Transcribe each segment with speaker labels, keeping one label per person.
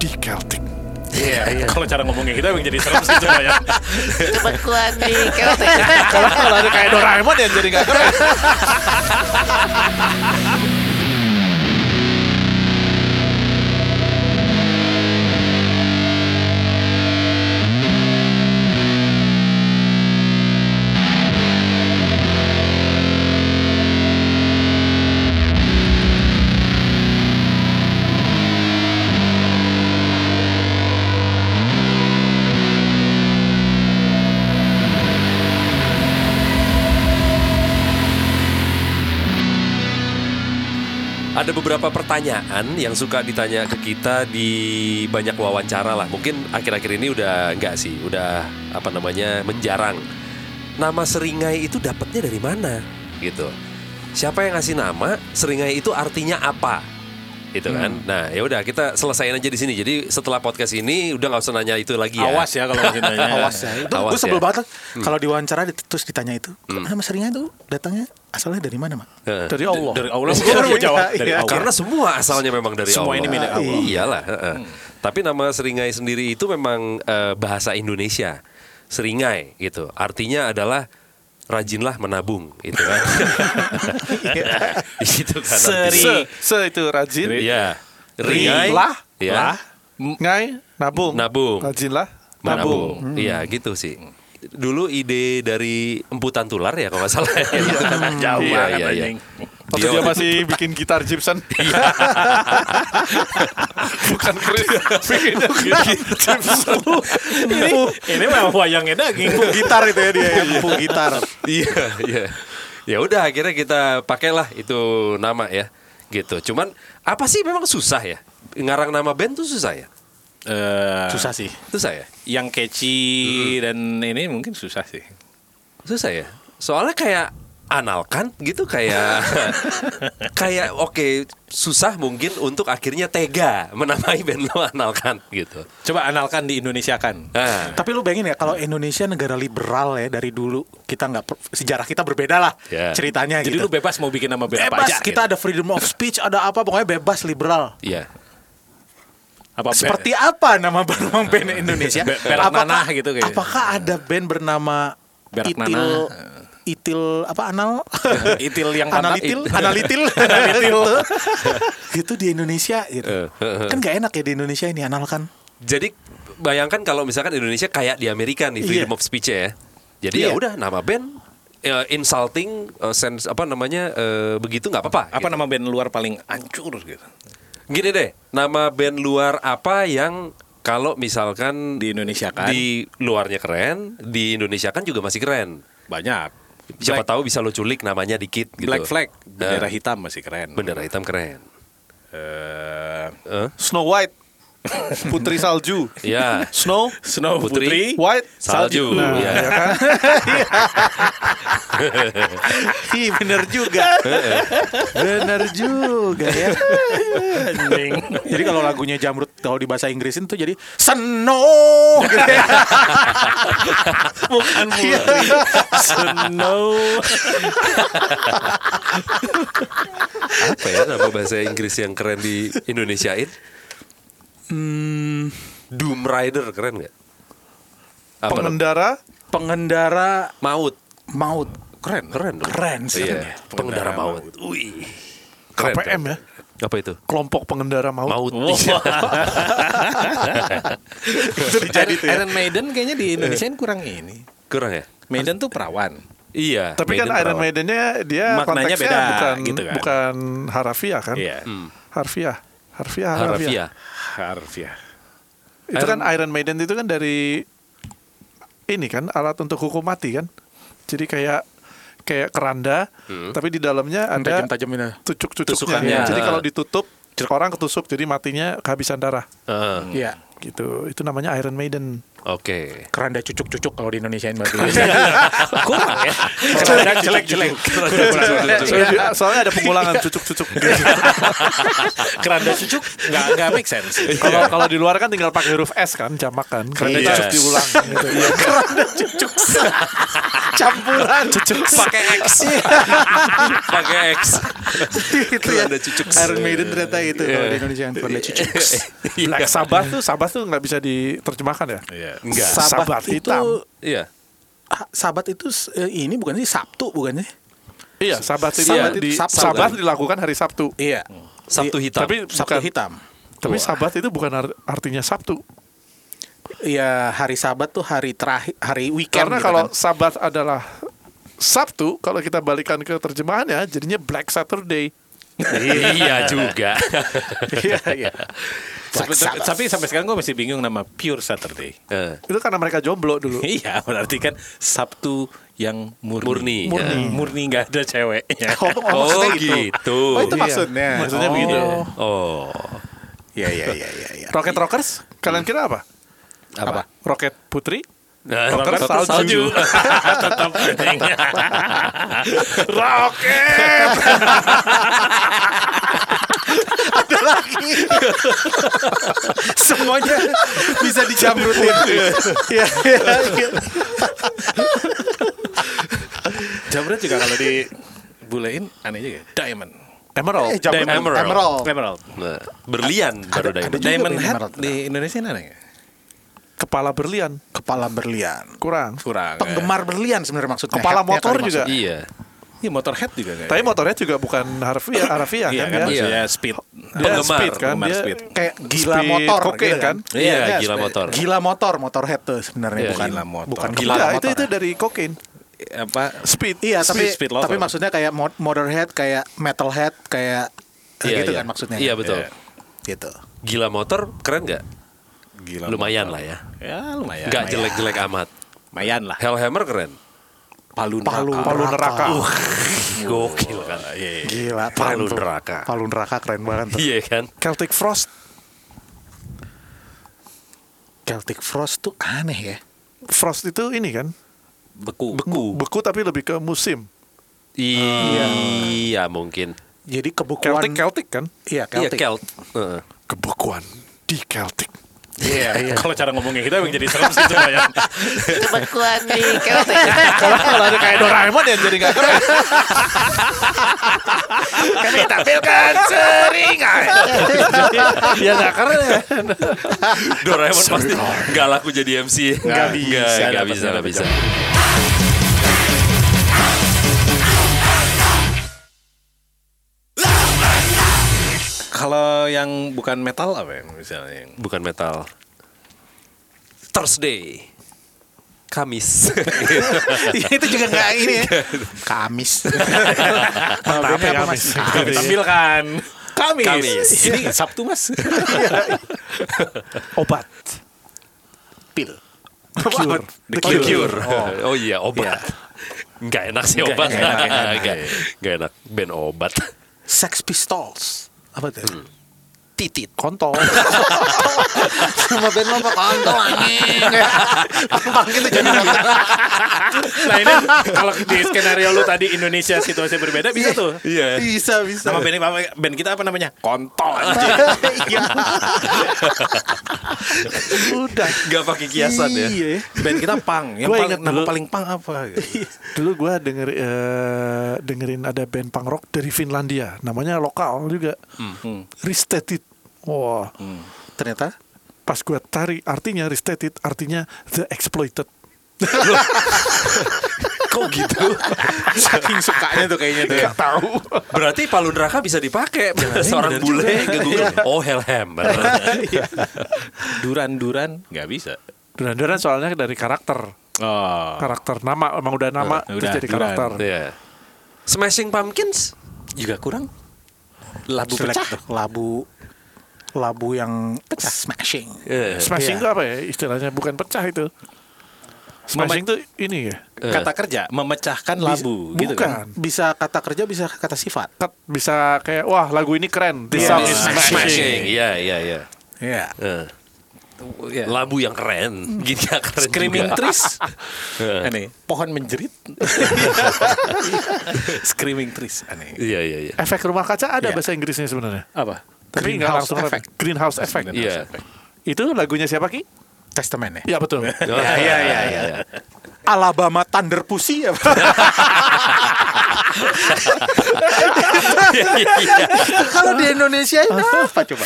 Speaker 1: di Celtic.
Speaker 2: Iya, iya.
Speaker 3: Kalau cara ngomongnya kita emang jadi serem sih cuma ya.
Speaker 4: Kebekuan di Celtic.
Speaker 1: Kalau kalau ada kayak Doraemon yang jadi nggak keren.
Speaker 2: Ada beberapa pertanyaan yang suka ditanya ke kita di banyak wawancara lah. Mungkin akhir-akhir ini udah enggak sih, udah apa namanya menjarang. Nama seringai itu dapatnya dari mana? Gitu. Siapa yang ngasih nama? Seringai itu artinya apa? Gitu kan.
Speaker 3: Hmm.
Speaker 2: Nah, ya udah kita selesaiin aja di sini. Jadi setelah podcast ini udah nggak usah nanya itu lagi ya.
Speaker 3: Awas ya kalau masih nanya.
Speaker 1: Awas ya. Itu
Speaker 2: Awas
Speaker 1: gue
Speaker 2: ya.
Speaker 1: sebel
Speaker 2: Hmm.
Speaker 1: banget lah. kalau diwawancara dit- terus ditanya itu. Nama seringnya itu datangnya asalnya dari mana, Mak?
Speaker 2: Heeh.
Speaker 1: Dari Allah.
Speaker 3: Dari Allah gue baru mau jawab dari
Speaker 1: Iya,
Speaker 3: Allah.
Speaker 2: Karena semua asalnya memang dari
Speaker 3: Semua
Speaker 2: Allah. Iya.
Speaker 3: ini milik Allah.
Speaker 2: Iyalah. heeh.
Speaker 1: Hmm.
Speaker 2: Tapi nama seringai sendiri itu memang eh, bahasa Indonesia. Seringai gitu. Artinya adalah rajinlah menabung gitu kan. gitu kan.
Speaker 3: Seri-
Speaker 2: artinya.
Speaker 3: Dari-
Speaker 1: Se, se itu rajin.
Speaker 2: Iya. Ringai.
Speaker 1: Lah,
Speaker 2: Ya.
Speaker 1: lah, ngai, nabung.
Speaker 2: Nabung.
Speaker 1: Rajin lah.
Speaker 2: Menabung.
Speaker 1: Hmm.
Speaker 2: Iya gitu sih. Dulu ide dari emputan tular ya kalau nggak salah. Gitu kan.
Speaker 3: Jauh
Speaker 2: Iya,
Speaker 3: banget
Speaker 2: iya, iya.
Speaker 3: anjing.
Speaker 1: Waktu dia masih bikin gitar Gibson. Bukan Chris, bikinnya Gibson.
Speaker 3: Ini memang wayangnya daging.
Speaker 1: Empuk gitar itu ya dia, ya, empuk gitar.
Speaker 2: Iya, iya. Ya udah akhirnya kita pakailah itu nama ya. Gitu. Cuman apa sih memang susah ya? Ngarang nama band tuh susah ya?
Speaker 3: Eh,
Speaker 1: Susah sih.
Speaker 2: Susah ya?
Speaker 3: yang catchy dan Hmm, ini mungkin susah sih.
Speaker 2: Susah ya? Soalnya kayak analkan gitu kayak kayak oke susah mungkin untuk akhirnya tega menamai band lo analkan gitu.
Speaker 3: Coba analkan di Indonesia kan.
Speaker 2: Nah,
Speaker 1: Tapi lu bayangin ya kalau Indonesia negara liberal ya dari dulu kita nggak per- sejarah kita berbeda lah
Speaker 2: Ya.
Speaker 1: ceritanya
Speaker 3: Jadi
Speaker 1: gitu.
Speaker 3: lu bebas mau bikin nama band apa
Speaker 1: bebas
Speaker 3: aja.
Speaker 1: kita
Speaker 3: gitu.
Speaker 1: ada freedom of speech ada apa pokoknya bebas liberal.
Speaker 2: iya.
Speaker 3: apa band?
Speaker 1: Seperti apa nama bernama band Indonesia?
Speaker 3: Be- Berak Nanah gitu kayaknya.
Speaker 1: Apakah ada band bernama
Speaker 3: Berak
Speaker 1: Itil
Speaker 3: Nanah. eh.
Speaker 1: Itil apa anal?
Speaker 3: Itil yang mantap.
Speaker 1: analitil,
Speaker 3: It-
Speaker 1: analitil, analitil. gitu di Indonesia
Speaker 3: Eh,
Speaker 1: gitu. kan nggak enak ya di Indonesia ini anal kan.
Speaker 2: Jadi bayangkan kalau misalkan Indonesia kayak di Amerika nih freedom
Speaker 1: Iya.
Speaker 2: of speech ya. Jadi
Speaker 1: Iya.
Speaker 2: ya udah nama band eh, insulting eh, sense apa namanya eh, begitu nggak apa-apa.
Speaker 3: apa nama band luar paling hancur gitu
Speaker 2: Gini deh, nama band luar apa yang kalau misalkan
Speaker 3: di Indonesia kan
Speaker 2: di luarnya keren, di Indonesia kan juga masih keren.
Speaker 3: banyak
Speaker 2: Siapa
Speaker 3: Black,
Speaker 2: tahu bisa lo culik namanya dikit gitu.
Speaker 3: Black Flag bendera
Speaker 2: Eh,
Speaker 3: hitam masih keren
Speaker 2: Bendera hitam keren.
Speaker 3: Eh,
Speaker 2: Eh,
Speaker 1: Snow White, Putri Salju,
Speaker 2: ya.
Speaker 1: Snow
Speaker 3: Snow
Speaker 2: Putri.
Speaker 3: Putri,
Speaker 1: White
Speaker 2: Salju.
Speaker 3: Nah.
Speaker 5: Nah.
Speaker 2: ya.
Speaker 1: Ih bener juga Bener juga ya Jadi kalau lagunya Jamrut Kalau di bahasa Inggrisin tuh jadi Snow gitu ya. Iya.
Speaker 3: bukan Putri Snow
Speaker 2: Apa ya nama bahasa Inggris yang keren di Indonesiain? Doom Rider keren nggak? Apa namanya?
Speaker 1: Pengendara Pengendara
Speaker 2: Maut.
Speaker 1: Maut
Speaker 2: Keren. Keren. dong.
Speaker 1: Keren ya, sih.
Speaker 2: Iya. Pengendara maut. Wih. Keren,
Speaker 5: KPM
Speaker 2: keren.
Speaker 5: ya
Speaker 2: Apa itu?
Speaker 5: kelompok pengendara maut
Speaker 2: Maut. Iya.
Speaker 3: Iron, Iron Maiden kayaknya di Indonesia kurang ini
Speaker 2: Kurang ya?
Speaker 3: Maiden tuh perawan
Speaker 2: Iya.
Speaker 5: tapi kan
Speaker 2: Maiden
Speaker 5: Iron
Speaker 2: perawan.
Speaker 5: Maidennya dia
Speaker 3: Maknanya
Speaker 5: konteksnya
Speaker 3: beda,
Speaker 5: bukan
Speaker 3: gitu kan.
Speaker 5: bukan harafiah kan
Speaker 3: Iya.
Speaker 2: Hmm.
Speaker 5: harfiah harfiah harfiah
Speaker 2: Harafia.
Speaker 3: harfiah
Speaker 5: itu kan
Speaker 2: Iron-
Speaker 5: Iron Maiden itu kan dari ini kan alat untuk hukum mati kan jadi kayak kayak keranda tapi di dalamnya ada Hmm.
Speaker 1: Tajam-tajamnya
Speaker 5: tucuk-tucuknya
Speaker 2: Tusukannya.
Speaker 5: Iya. jadi kalau ditutup orang ketusuk jadi matinya kehabisan darah
Speaker 2: Heeh.
Speaker 1: Iya
Speaker 5: gitu itu namanya Iron Maiden
Speaker 2: Oke.
Speaker 1: Keranda cucuk-cucuk kalau di Indonesia ini Iya. Kurang ya. Keranda jelek-jelek.
Speaker 5: Soalnya, soalnya ada pengulangan cucuk-cucuk. gitu.
Speaker 1: Keranda cucuk nggak nggak make sense.
Speaker 5: Kalau kalau di luar kan tinggal pakai huruf S kan, jamak kan. Karena
Speaker 2: Iya.
Speaker 5: cucuk diulang. Gitu.
Speaker 1: Keranda cucuk campuran cucuk
Speaker 2: Pakai X. Pakai X.
Speaker 1: itu ya.
Speaker 2: Keranda cucuk.
Speaker 1: Iron Maiden ternyata itu kalau di Indonesia kan keranda cucuk.
Speaker 2: Iya.
Speaker 5: Black Sabbath tuh Sabbath tuh nggak bisa diterjemahkan ya.
Speaker 3: Iya.
Speaker 2: Enggak.
Speaker 5: Sabat
Speaker 1: Sabat itu
Speaker 5: hitam.
Speaker 2: Iya.
Speaker 1: ah, Sabat itu eh, ini bukan sih Sabtu bukan sih?
Speaker 5: Iya, Sabat itu
Speaker 2: Sabat
Speaker 1: itu
Speaker 5: di,
Speaker 1: Sabtu.
Speaker 5: Sabat dilakukan hari Sabtu.
Speaker 1: Iya.
Speaker 2: Sabtu hitam.
Speaker 5: Tapi
Speaker 1: Sabtu
Speaker 5: bukan-
Speaker 1: hitam.
Speaker 5: Tapi Sabat itu bukan ar- artinya Sabtu.
Speaker 1: Iya, hari Sabat tuh hari terakhir hari weekend.
Speaker 5: Karena
Speaker 1: gitu
Speaker 5: kalau
Speaker 1: kan.
Speaker 5: Sabat adalah Sabtu, kalau kita balikan ke terjemahannya jadinya Black Saturday.
Speaker 2: iya juga.
Speaker 1: iya iya.
Speaker 3: Tapi, tapi- tapi sampai sekarang gue masih bingung nama Pure Saturday.
Speaker 2: Eh,
Speaker 5: Itu karena mereka jomblo dulu.
Speaker 3: Iya, berarti kan Sabtu yang murni.
Speaker 2: Murni, Murni.
Speaker 3: Ya. Murni nggak ada ceweknya.
Speaker 1: Oh, oh,
Speaker 2: Oh,
Speaker 1: maksudnya gitu.
Speaker 2: gitu.
Speaker 1: Oh, itu
Speaker 5: Iya.
Speaker 1: maksudnya.
Speaker 5: Maksudnya
Speaker 1: oh.
Speaker 5: begitu.
Speaker 2: Oh.
Speaker 1: Iya, iya, iya, iya, iya.
Speaker 5: Rocket Rockers, kalian kira apa?
Speaker 2: Apa?
Speaker 5: Rocket Putri?
Speaker 2: Nah,
Speaker 5: Rocker salju.
Speaker 3: Kan Tetap penting.
Speaker 5: Rocket!
Speaker 1: Semuanya bisa dijamrutin. Iya, iya, iya.
Speaker 3: Jamret juga kalau dibulein aneh juga. Diamond.
Speaker 5: Emerald.
Speaker 1: Eh, jamrut.
Speaker 3: Diamond.
Speaker 1: Emerald. Emerald.
Speaker 3: Emerald.
Speaker 2: Nah, berlian baru
Speaker 1: ada
Speaker 2: diamond.
Speaker 1: juga
Speaker 3: Diamond
Speaker 1: pengen
Speaker 3: head
Speaker 1: emerald.
Speaker 3: di Indonesia ini aneh nggak?
Speaker 5: Kepala berlian.
Speaker 1: Kepala berlian.
Speaker 5: Kurang.
Speaker 3: Kurang. ya.
Speaker 1: Penggemar berlian sebenarnya maksudnya.
Speaker 5: Kepala
Speaker 1: Hatnya
Speaker 5: motor
Speaker 1: kali
Speaker 5: juga.
Speaker 1: maksudnya.
Speaker 2: Iya.
Speaker 3: Iya, motor head juga nggak?
Speaker 5: Tapi motornya juga bukan harfiah, harfiah
Speaker 3: Iya
Speaker 5: kan,
Speaker 3: kan
Speaker 5: dia.
Speaker 2: Iya.
Speaker 3: maksudnya speed.
Speaker 5: Dia
Speaker 2: Penggemar.
Speaker 5: speed kan,
Speaker 3: Penggemar
Speaker 5: dia
Speaker 3: speed.
Speaker 1: Kayak gila
Speaker 5: Speed
Speaker 1: motor
Speaker 5: cocaine
Speaker 1: gitu
Speaker 5: kan?
Speaker 2: Iya,
Speaker 1: iya,
Speaker 2: gila
Speaker 1: seperti-
Speaker 2: motor.
Speaker 1: Gila motor, motorhead tuh sebenarnya
Speaker 2: Iya,
Speaker 1: bukan
Speaker 3: gila motor.
Speaker 1: bukan
Speaker 2: Gila
Speaker 1: kepala
Speaker 5: Enggak, Iya, itu
Speaker 1: motor.
Speaker 5: itu dari kokain.
Speaker 3: apa
Speaker 5: Speed.
Speaker 1: Iya, tapi
Speaker 3: Speed- speed lover.
Speaker 1: tapi maksudnya kayak mod motorhead, kayak metalhead, kayak
Speaker 2: Iya,
Speaker 1: gitu
Speaker 2: iya.
Speaker 1: kan maksudnya.
Speaker 2: Iya, betul.
Speaker 3: Iya.
Speaker 1: Gitu.
Speaker 2: Gila motor keren nggak?
Speaker 3: gila
Speaker 2: Lumayan lah ya.
Speaker 3: ya lumayan
Speaker 2: Nggak
Speaker 3: lumayan.
Speaker 2: jelek-jelek amat.
Speaker 3: lumayan lah
Speaker 2: Hellhammer keren.
Speaker 3: palu
Speaker 1: Palu,
Speaker 5: Palu neraka.
Speaker 2: Gokil kan.
Speaker 3: Iya,
Speaker 1: Gila,
Speaker 2: Palu
Speaker 1: keren tuh.
Speaker 2: neraka.
Speaker 1: Palu neraka keren banget tuh.
Speaker 2: Iya kan?
Speaker 5: Celtic Frost.
Speaker 1: Celtic Frost tuh aneh ya.
Speaker 5: Frost itu ini kan,
Speaker 2: Beku.
Speaker 5: beku tapi lebih ke musim.
Speaker 2: Iya, mungkin.
Speaker 1: Jadi kebekuan
Speaker 5: Celtic Celtic kan?
Speaker 2: Iya,
Speaker 1: Iya, Celtic.
Speaker 2: Celt. Heeh.
Speaker 5: Kebekuan di Celtic.
Speaker 3: iya kalau cara ngomongnya kita emang jadi serem sih ya. lumayan
Speaker 4: Kebekuan di Kerote.
Speaker 5: Kalau
Speaker 1: Ah,
Speaker 5: kalau ada kayak Doraemon ya jadi nggak keren.
Speaker 3: kami tampilkan seringai
Speaker 5: ya nggak keren ya.
Speaker 2: Doraemon pasti nggak laku jadi MC. Nggak
Speaker 3: bisa,
Speaker 2: Nggak
Speaker 3: dapatnya
Speaker 2: bisa, nggak bisa.
Speaker 3: kalau yang bukan metal apa ya misalnya yang
Speaker 2: Bukan metal. Thursday. Kamis.
Speaker 1: itu juga nggak ini ya. Kamis. ya, Apa
Speaker 5: Tapi
Speaker 1: apa,
Speaker 5: Kamis.
Speaker 1: Mas?
Speaker 3: kami tampilkan Kamis.
Speaker 2: Kamis.
Speaker 3: Ini Sabtu mas.
Speaker 5: Obat.
Speaker 1: Pil.
Speaker 5: Cure.
Speaker 2: The Cure. Oh, iya, obat. Nggak enak sih obat. Nggak enak, nggak nggak enak. Band obat.
Speaker 1: Sex Pistols. Apa tuh?
Speaker 2: Titit.
Speaker 5: Kontol.
Speaker 1: Sama band lo apa kontol anjing. Gampang gitu jadi kontol.
Speaker 3: Nah ini kalau di skenario lu tadi Indonesia situasi berbeda bisa tuh.
Speaker 2: Iya.
Speaker 1: Bisa, bisa.
Speaker 3: Nama band, apa- band kita apa namanya? Kontol. anjing.
Speaker 1: Iya. Udah.
Speaker 2: Nggak pakai kiasan ya.
Speaker 1: Iya ya.
Speaker 3: Band kita pang. Yang
Speaker 5: Gua
Speaker 3: paling,
Speaker 5: ingat
Speaker 3: nama
Speaker 5: dulu.
Speaker 3: paling pang apa?
Speaker 5: Dulu gue denger eh, dengerin ada band punk rock dari Finlandia, namanya lokal juga. Ristetit. Wah.
Speaker 1: Ternyata
Speaker 5: Pas gue tarik artinya Ristetit artinya the exploited.
Speaker 2: Kok gitu?
Speaker 1: saking sukanya tuh kayaknya tuh. Ya.
Speaker 5: tahu.
Speaker 2: Berarti palu neraka bisa dipakai seorang bule ke Google. Oh Hellhammer.
Speaker 3: Duran-duran nggak bisa.
Speaker 5: Duran-duran soalnya dari karakter. Ah.
Speaker 3: Oh.
Speaker 5: Karakter nama emang udah nama
Speaker 3: Eh,
Speaker 5: terus
Speaker 3: udah,
Speaker 5: jadi
Speaker 3: Duran.
Speaker 5: karakter.
Speaker 2: Iya. Smashing Pumpkins
Speaker 3: juga kurang.
Speaker 1: Labu
Speaker 3: Selek
Speaker 1: pecah. Labu labu yang smashing.
Speaker 2: Iya.
Speaker 5: Smashing
Speaker 1: Iya.
Speaker 5: itu apa ya istilahnya? Bukan pecah itu. Smashing itu ini ya.
Speaker 3: Kata kerja memecahkan labu gitu kan.
Speaker 5: Bukan.
Speaker 1: Bisa kata kerja, bisa kata sifat.
Speaker 5: Tet- Bisa
Speaker 2: Eh,
Speaker 5: kayak wah lagu ini keren. This song is
Speaker 1: Smashing.
Speaker 5: smashing.
Speaker 2: Iya, iya, iya.
Speaker 1: Iya.
Speaker 2: Eh.
Speaker 3: ya.
Speaker 2: labu yang keren gitu ya, keren
Speaker 3: Screaming
Speaker 2: juga.
Speaker 3: trees.
Speaker 2: Heeh.
Speaker 3: Aneh. Pohon menjerit. Screaming trees. Aneh.
Speaker 2: iya iya iya
Speaker 5: Efek rumah kaca ada
Speaker 3: Iya.
Speaker 5: bahasa Inggrisnya sebenarnya.
Speaker 3: Apa?
Speaker 5: Tapi nggak
Speaker 3: Greenhouse
Speaker 5: langsung
Speaker 3: effect.
Speaker 5: Greenhouse effect.
Speaker 2: iya
Speaker 5: Itu lagunya siapa Ki?
Speaker 3: Testament
Speaker 5: Ya
Speaker 3: ya.
Speaker 5: betul.
Speaker 2: iya
Speaker 1: iya, iya, iya. Alabama Thunder Pussy ya. Kalau di Indonesia itu apa coba?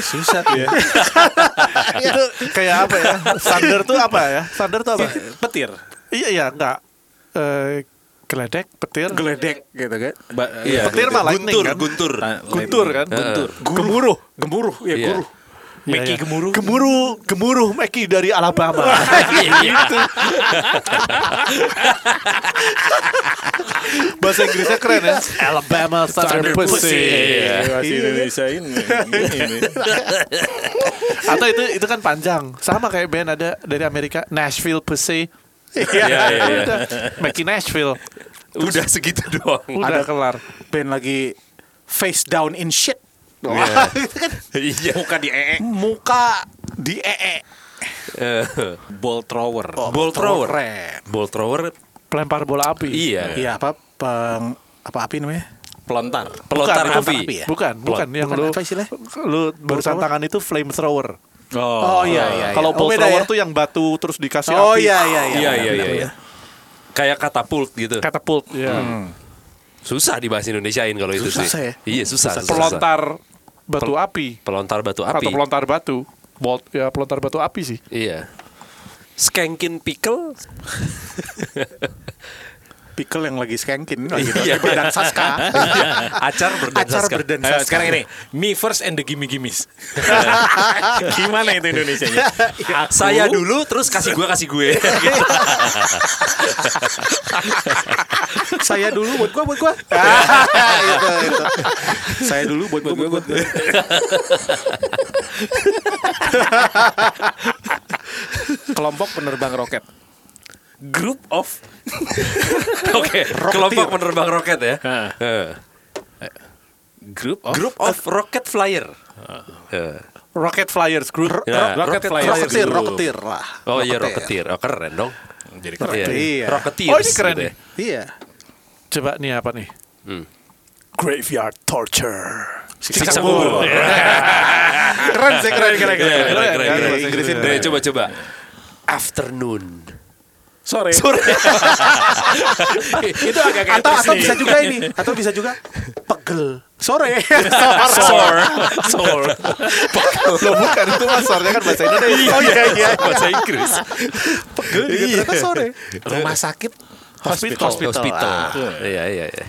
Speaker 3: Susah tuh ya.
Speaker 5: itu kayak apa ya? Thunder tuh apa ya? Thunder tuh apa?
Speaker 3: Petir.
Speaker 5: iya iya enggak. Eh geledek, petir.
Speaker 3: Geledek gitu kan.
Speaker 2: iya
Speaker 5: Petir mah lightning
Speaker 2: guntur
Speaker 5: kan?
Speaker 2: guntur
Speaker 3: Ah,
Speaker 5: Guntur
Speaker 1: iya,
Speaker 5: kan?
Speaker 2: Guntur.
Speaker 5: Gemuruh.
Speaker 1: Gemuruh ya
Speaker 2: Iya.
Speaker 1: guruh.
Speaker 5: Meki gemuruh. Gemuruh, gemuruh Meki dari Alabama.
Speaker 1: Gitu.
Speaker 2: Iya.
Speaker 5: bahasa Inggrisnya keren ya. Alabama Thunder Pussy.
Speaker 2: Iya.
Speaker 3: Masih Indonesia ini. ini.
Speaker 5: Atau itu itu kan panjang. Sama kayak band ada dari Amerika Nashville Pussy.
Speaker 2: Iya, iya, iya.
Speaker 5: Udah. Meki Nashville.
Speaker 2: udah segitu doang
Speaker 5: Udah
Speaker 1: Ada-
Speaker 5: kelar.
Speaker 1: Band lagi face down in shit.
Speaker 2: Iya. iya
Speaker 3: Muka di ee.
Speaker 1: Muka di ee.
Speaker 2: Eh,
Speaker 3: Ball thrower.
Speaker 2: ball thrower
Speaker 1: Keren.
Speaker 2: ball thrower
Speaker 5: Pelempar bola api.
Speaker 2: iya
Speaker 1: Iya apa peng apa api namanya?
Speaker 3: Pelontar.
Speaker 2: pelontar
Speaker 1: Bukan,
Speaker 2: kopi
Speaker 1: apa ya?
Speaker 5: Bukan, bukan yang
Speaker 1: Bukan
Speaker 5: lu
Speaker 1: apa istilahnya?
Speaker 5: lu barusan tangan itu flamethrower.
Speaker 1: Oh, iya iya.
Speaker 5: Kalau
Speaker 1: iya.
Speaker 5: ball
Speaker 1: beda
Speaker 5: thrower
Speaker 1: ya?
Speaker 5: tuh yang batu terus dikasih
Speaker 1: Oh
Speaker 5: api.
Speaker 1: iya iya iya.
Speaker 2: iya iya iya iya. kayak katapult gitu
Speaker 5: Catapult, ya.
Speaker 2: susah dibahas Indonesiain kalau itu
Speaker 1: Susah
Speaker 2: sih
Speaker 1: ya?
Speaker 2: iya susah, susah, susah.
Speaker 5: Pelontar batu api
Speaker 2: pelontar batu api
Speaker 5: atau pelontar batu. Bolt ya pelontar batu api sih.
Speaker 2: iya skankin pickle
Speaker 1: Pickle yang lagi skengkin lagi
Speaker 2: Iya.
Speaker 1: lagi berdan saska.
Speaker 2: acar
Speaker 1: Acar
Speaker 2: berdansaska
Speaker 1: berdan
Speaker 3: Ayo,
Speaker 1: saska.
Speaker 3: sekarang ini Me first and the gimme gimmies Gimana itu Indonesianya
Speaker 2: Iya.
Speaker 3: Aku-
Speaker 2: saya dulu terus kasih gue kasih gue Gitu.
Speaker 1: Saya dulu buat gua buat gua. Iya, itu, itu. Saya dulu buat gua buat gua.
Speaker 3: Kelompok penerbang roket Group of
Speaker 2: oke kelompok penerbang roket ya
Speaker 3: Heeh.
Speaker 2: Heeh.
Speaker 3: Group of
Speaker 2: group of rocket flyer Heeh.
Speaker 5: Rocket Flyers group.
Speaker 2: Ya,
Speaker 3: rocket flyer.
Speaker 1: Rocketeer,
Speaker 2: dulu.
Speaker 1: rocketeer lah.
Speaker 2: oh iya rocketeer oh keren dong
Speaker 3: Jadi
Speaker 2: Iya.
Speaker 1: Iya.
Speaker 2: Rocketeers
Speaker 5: Oh, ini keren
Speaker 2: gitu
Speaker 5: nih.
Speaker 2: ya.
Speaker 1: Iya.
Speaker 5: Coba nih apa nih?
Speaker 2: Hmm.
Speaker 5: Graveyard Torture.
Speaker 2: Siksa kubur.
Speaker 3: Iya.
Speaker 1: Keren sih keren keren
Speaker 2: Keren,
Speaker 1: keren.
Speaker 2: keren, keren,
Speaker 5: Iya,
Speaker 2: keren.
Speaker 5: Inggrisin
Speaker 2: Nih,
Speaker 5: keren.
Speaker 2: coba coba. Afternoon.
Speaker 3: Sore
Speaker 2: Sore.
Speaker 3: Itu agak kayak
Speaker 1: Atau atau
Speaker 3: Disney.
Speaker 1: bisa juga ini, atau bisa juga pegel sore.
Speaker 2: Sore. Sore.
Speaker 5: Loh bukan itu mas, soalnya kan bahasa Indonesia.
Speaker 1: Oh iya iya.
Speaker 2: Bahasa Inggris.
Speaker 1: Pegel juga Iya. ternyata sore.
Speaker 3: Rumah sakit
Speaker 5: Hospital.
Speaker 2: Hospital. Iya iya iya.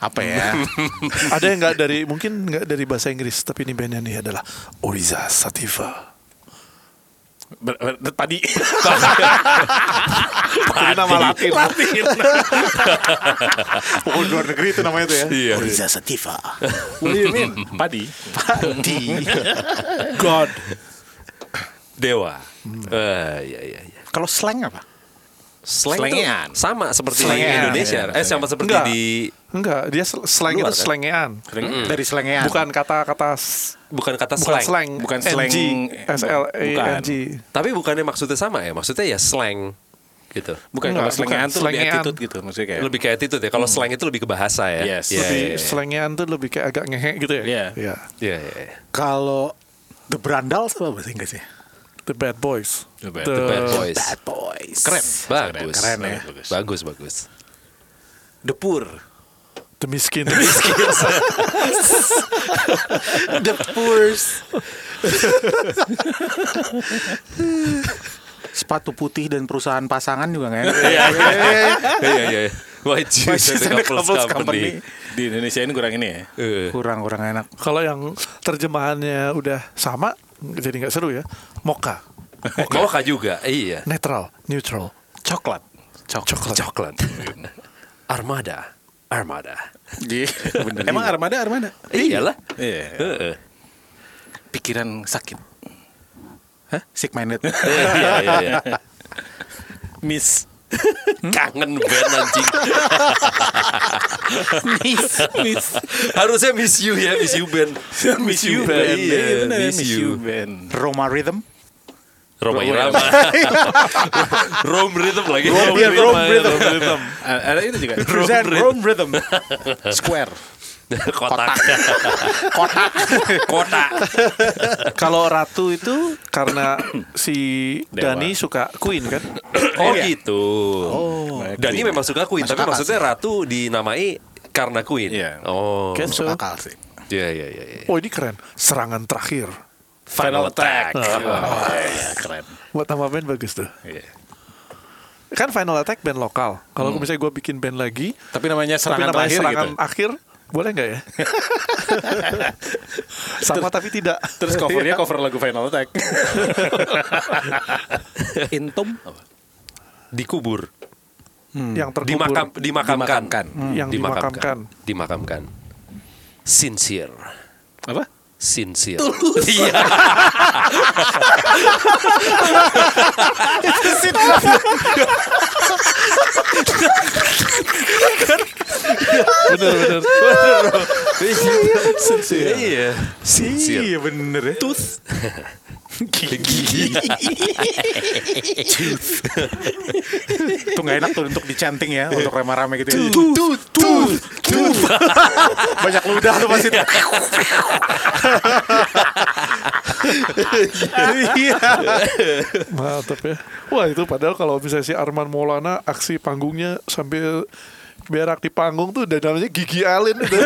Speaker 1: Ah, Apa ya?
Speaker 5: Ada yang nggak dari mungkin nggak dari bahasa Inggris, tapi ini bandnya nih adalah Oriza Sativa.
Speaker 3: Ber- ber- Padi
Speaker 5: Ini nama Latin.
Speaker 3: Latin
Speaker 1: Pokoknya Oh, luar negeri itu namanya itu ya.
Speaker 2: Iya.
Speaker 1: Oriza Sativa.
Speaker 3: What do you mean? Padi
Speaker 1: Di.
Speaker 5: God.
Speaker 2: Dewa.
Speaker 3: Hmm.
Speaker 2: Eh, iya iya iya.
Speaker 1: Kalau slang apa?
Speaker 2: Slang
Speaker 3: Slangean.
Speaker 2: tuh sama seperti di
Speaker 1: Slangean.
Speaker 2: Indonesia.
Speaker 3: Iya,
Speaker 2: Eh sama seperti
Speaker 5: Enggak.
Speaker 2: di
Speaker 5: Enggak, dia sl- slang
Speaker 2: Luar,
Speaker 5: itu
Speaker 2: kan?
Speaker 5: slangean.
Speaker 1: Hmm. Dari slangean.
Speaker 5: Bukan kata-kata s-
Speaker 2: bukan kata
Speaker 5: bukan
Speaker 2: Ah. slang.
Speaker 5: slang,
Speaker 3: Bukan
Speaker 5: NG,
Speaker 3: slang.
Speaker 5: S L A N G.
Speaker 2: Tapi bukannya maksudnya sama ya? Maksudnya ya slang gitu.
Speaker 3: Bukan
Speaker 5: Enggak,
Speaker 3: kalau slangean
Speaker 5: bukan.
Speaker 3: tuh lebih
Speaker 5: Slangean.
Speaker 3: attitude gitu Maksudnya kayak
Speaker 2: Lebih kayak attitude ya. Kalau slang itu lebih ke bahasa ya.
Speaker 3: Yes.
Speaker 2: Iya,
Speaker 5: Lebih
Speaker 2: iya, iya.
Speaker 5: slangean tuh lebih kayak agak ngehe gitu ya.
Speaker 3: Iya.
Speaker 5: Iya.
Speaker 2: Iya iya. iya.
Speaker 1: Kalau The Brandals apa bahasa Inggrisnya?
Speaker 5: The bad boys.
Speaker 3: The bad-
Speaker 2: The Bad Boys.
Speaker 1: Bad Boys.
Speaker 3: Keren
Speaker 2: Bagus.
Speaker 1: Keren ya.
Speaker 2: Bagus bagus.
Speaker 1: The Poor.
Speaker 5: The miskin.
Speaker 1: The Poors. Sepatu putih dan perusahaan pasangan juga nggak enak.
Speaker 2: Iya iya iya iya. White Shoes
Speaker 1: Shoes
Speaker 2: and the Couples Company.
Speaker 1: Company.
Speaker 3: Di Indonesia ini kurang ini ya
Speaker 2: Eh,
Speaker 1: Kurang kurang enak.
Speaker 5: Kalau yang terjemahannya udah sama, jadi nggak seru ya. Moka,
Speaker 2: Mocha juga. Iya.
Speaker 5: netral, neutral,
Speaker 1: Coklat.
Speaker 5: coklat.
Speaker 2: Coklat. Armada. Armada.
Speaker 1: Emang armada armada?
Speaker 2: Iyalah.
Speaker 3: Iya
Speaker 2: Heeh.
Speaker 3: Pikiran sakit
Speaker 1: Sick minded.
Speaker 2: Iya iya iya.
Speaker 3: Miss
Speaker 2: Kangen band anjing.
Speaker 3: Miss Miss
Speaker 2: Harusnya miss you ya, miss you band.
Speaker 3: Miss you band
Speaker 2: Iya,
Speaker 3: Iya, bener,
Speaker 2: miss you.
Speaker 3: band
Speaker 1: Roma Rhythm.
Speaker 2: Roma Irama. Rome Rhythm lagi.
Speaker 1: Rome Rhythm,
Speaker 2: Irama,
Speaker 1: Rome Rhythm.
Speaker 2: Rome Rhythm.
Speaker 3: Ada itu juga.
Speaker 1: Present Rome Rhythm Square.
Speaker 2: Kotak. Kotak. Kotak.
Speaker 5: Kalau Ratu itu karena si
Speaker 3: Dewa.
Speaker 5: Dani suka Queen kan?
Speaker 2: Oh gitu. Dani
Speaker 3: Queen.
Speaker 2: memang suka Queen,
Speaker 6: Masuk
Speaker 2: tapi
Speaker 6: akal
Speaker 2: maksudnya ratu dinamai karena Queen.
Speaker 3: Iya.
Speaker 2: Oh.
Speaker 5: Kan so,
Speaker 6: akal sih.
Speaker 2: Iya iya iya. iya.
Speaker 5: oh ini keren. Serangan terakhir.
Speaker 2: Final Attack.
Speaker 3: Oh, iya, keren.
Speaker 5: Buat nama band bagus tuh.
Speaker 3: Iya.
Speaker 5: Kan Final Attack band lokal. Kalau misalnya gue bikin band lagi,
Speaker 1: Hmm. Tapi namanya
Speaker 5: tapi
Speaker 1: serangan
Speaker 5: namanya
Speaker 1: terakhir
Speaker 5: serangan
Speaker 1: gitu.
Speaker 5: akhir boleh nggak ya? Sama tapi tidak.
Speaker 3: Terus covernya cover lagu Final Attack.
Speaker 6: Intum
Speaker 2: Dikubur.
Speaker 1: Hmm.
Speaker 5: yang terkubur.
Speaker 2: Dimakam, dimakamkan.
Speaker 3: Dimakamkan.
Speaker 5: Yang dimakamkan.
Speaker 2: Dimakamkan. Sincere.
Speaker 3: Apa?
Speaker 2: Sincere. Iya.
Speaker 5: Bener bener.
Speaker 2: Iya. Sincere.
Speaker 1: Iya bener ya.
Speaker 2: tooth gigi
Speaker 1: Itu nggak enak tuh untuk dicanting ya untuk rame-rame gitu. ya.
Speaker 2: tooth tooth
Speaker 1: Banyak ludah tuh pasti. Iya.
Speaker 5: Mantap ya. Wah itu padahal kalau misalnya si Arman Maulana aksi panggungnya sambil berak di panggung tuh dan namanya gigi Allen itu.